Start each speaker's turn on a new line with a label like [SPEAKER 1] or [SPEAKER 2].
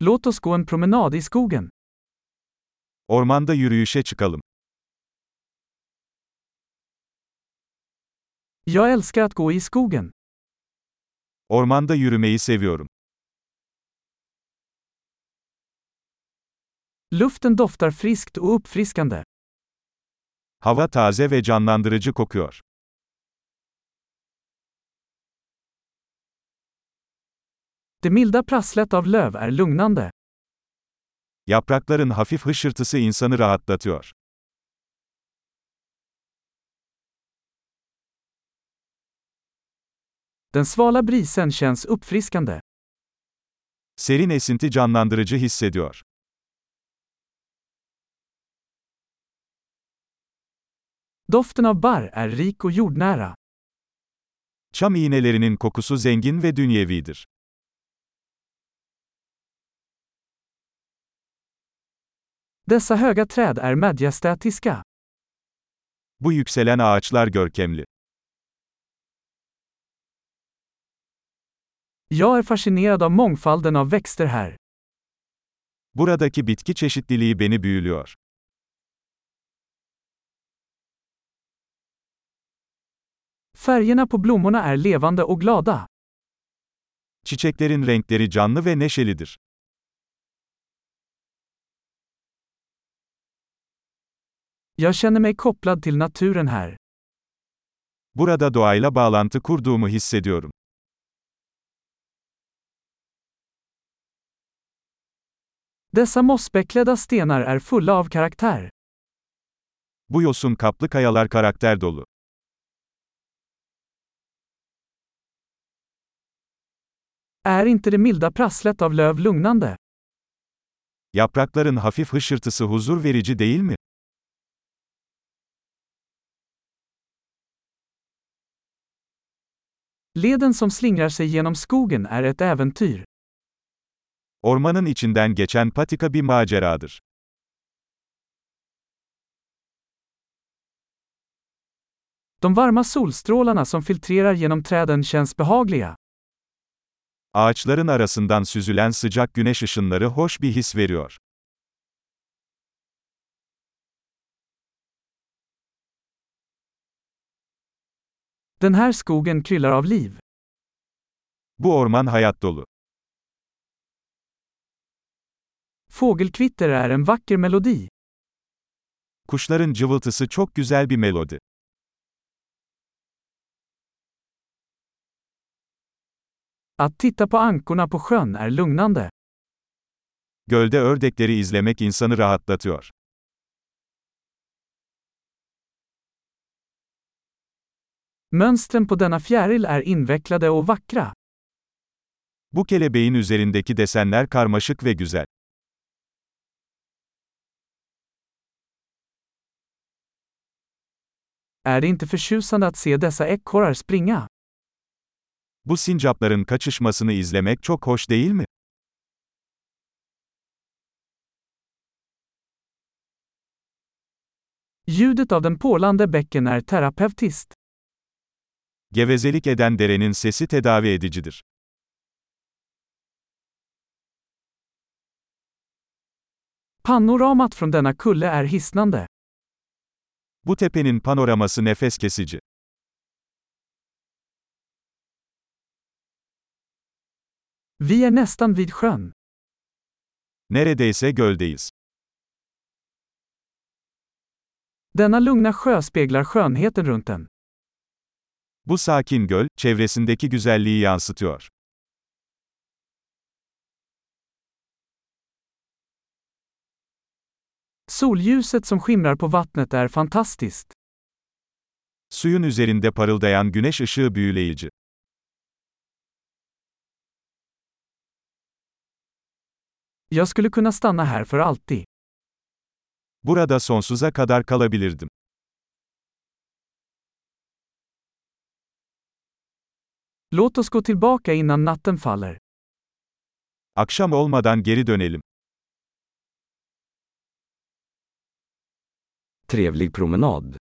[SPEAKER 1] Låt oss gå en promenad i skogen.
[SPEAKER 2] Ormanda yürüyüşe çıkalım.
[SPEAKER 1] Jag älskar att gå i skogen.
[SPEAKER 2] Ormanda yürümeyi seviyorum.
[SPEAKER 1] Luften doftar friskt och uppfriskande.
[SPEAKER 2] Hava taze ve canlandırıcı kokuyor.
[SPEAKER 1] Det milda prasslet av löv är lugnande.
[SPEAKER 2] Yaprakların hafif hışırtısı insanı rahatlatıyor.
[SPEAKER 1] Den svala brisen känns uppfriskande.
[SPEAKER 2] Serin esinti canlandırıcı hissediyor.
[SPEAKER 1] Doften av barr är rik och jordnära.
[SPEAKER 2] Çam iğnelerinin kokusu zengin ve dünyevidir.
[SPEAKER 1] Dessa höga träd är majestätiska.
[SPEAKER 2] Bu yükselen ağaçlar görkemli.
[SPEAKER 1] Jag är fascinerad av mångfalden av växter här.
[SPEAKER 2] Buradaki bitki çeşitliliği beni büyülüyor.
[SPEAKER 1] Färgerna på blommorna är levande och glada.
[SPEAKER 2] Çiçeklerin renkleri canlı ve neşelidir.
[SPEAKER 1] Jag känner mig kopplad till naturen här.
[SPEAKER 2] Burada doğayla bağlantı kurduğumu hissediyorum.
[SPEAKER 1] Dessa mossbeklädda stenar är fulla av karaktär.
[SPEAKER 2] Bu yosun kaplı kayalar karakter dolu.
[SPEAKER 1] Är inte det milda prasslet av löv lugnande?
[SPEAKER 2] Yaprakların hafif hışırtısı huzur verici değil mi?
[SPEAKER 1] Leden som slingrar sig genom skogen är ett äventyr.
[SPEAKER 2] Ormanın içinden geçen patika bir maceradır.
[SPEAKER 1] De varma solstrålarna som filtrerar genom träden känns behagliga.
[SPEAKER 2] Ağaçların arasından süzülen sıcak güneş ışınları hoş bir his veriyor.
[SPEAKER 1] Den här skogen kryllar av liv.
[SPEAKER 2] Bu orman hayat dolu.
[SPEAKER 1] Fågelkvitter är en vacker melodi.
[SPEAKER 2] Kuşların cıvıltısı çok güzel bir melodi.
[SPEAKER 1] Att titta på ankorna på sjön är lugnande.
[SPEAKER 2] Gölde ördekleri izlemek insanı rahatlatıyor.
[SPEAKER 1] Mönstren på denna fjäril är invecklade och vackra.
[SPEAKER 2] Bu kelebeğin üzerindeki desenler karmaşık ve güzel.
[SPEAKER 1] Är det inte förtjusande att se dessa ekorrar springa?
[SPEAKER 2] Bu sincapların kaçışmasını izlemek çok hoş değil mi?
[SPEAKER 1] Ljudet av den porlande bäcken är terapeutiskt.
[SPEAKER 2] Gevezelik eden derenin sesi tedavi edicidir.
[SPEAKER 1] Panoramat från denna kulle är hisnande.
[SPEAKER 2] Bu tepenin panoraması nefes kesici.
[SPEAKER 1] Vi är nästan vid sjön.
[SPEAKER 2] Neredeyse göldeyiz.
[SPEAKER 1] Denna lugna sjö speglar skönheten runt den.
[SPEAKER 2] Bu sakin göl, çevresindeki güzelliği yansıtıyor.
[SPEAKER 1] Solljuset som skimrar på vattnet är fantastiskt.
[SPEAKER 2] Suyun üzerinde parıldayan güneş ışığı büyüleyici.
[SPEAKER 1] Jag skulle kunna stanna här för alltid.
[SPEAKER 2] Burada sonsuza kadar kalabilirdim.
[SPEAKER 1] Låt oss gå tillbaka innan natten faller.
[SPEAKER 2] Akşam olmadan geri dönelim.
[SPEAKER 3] Trevlig promenad.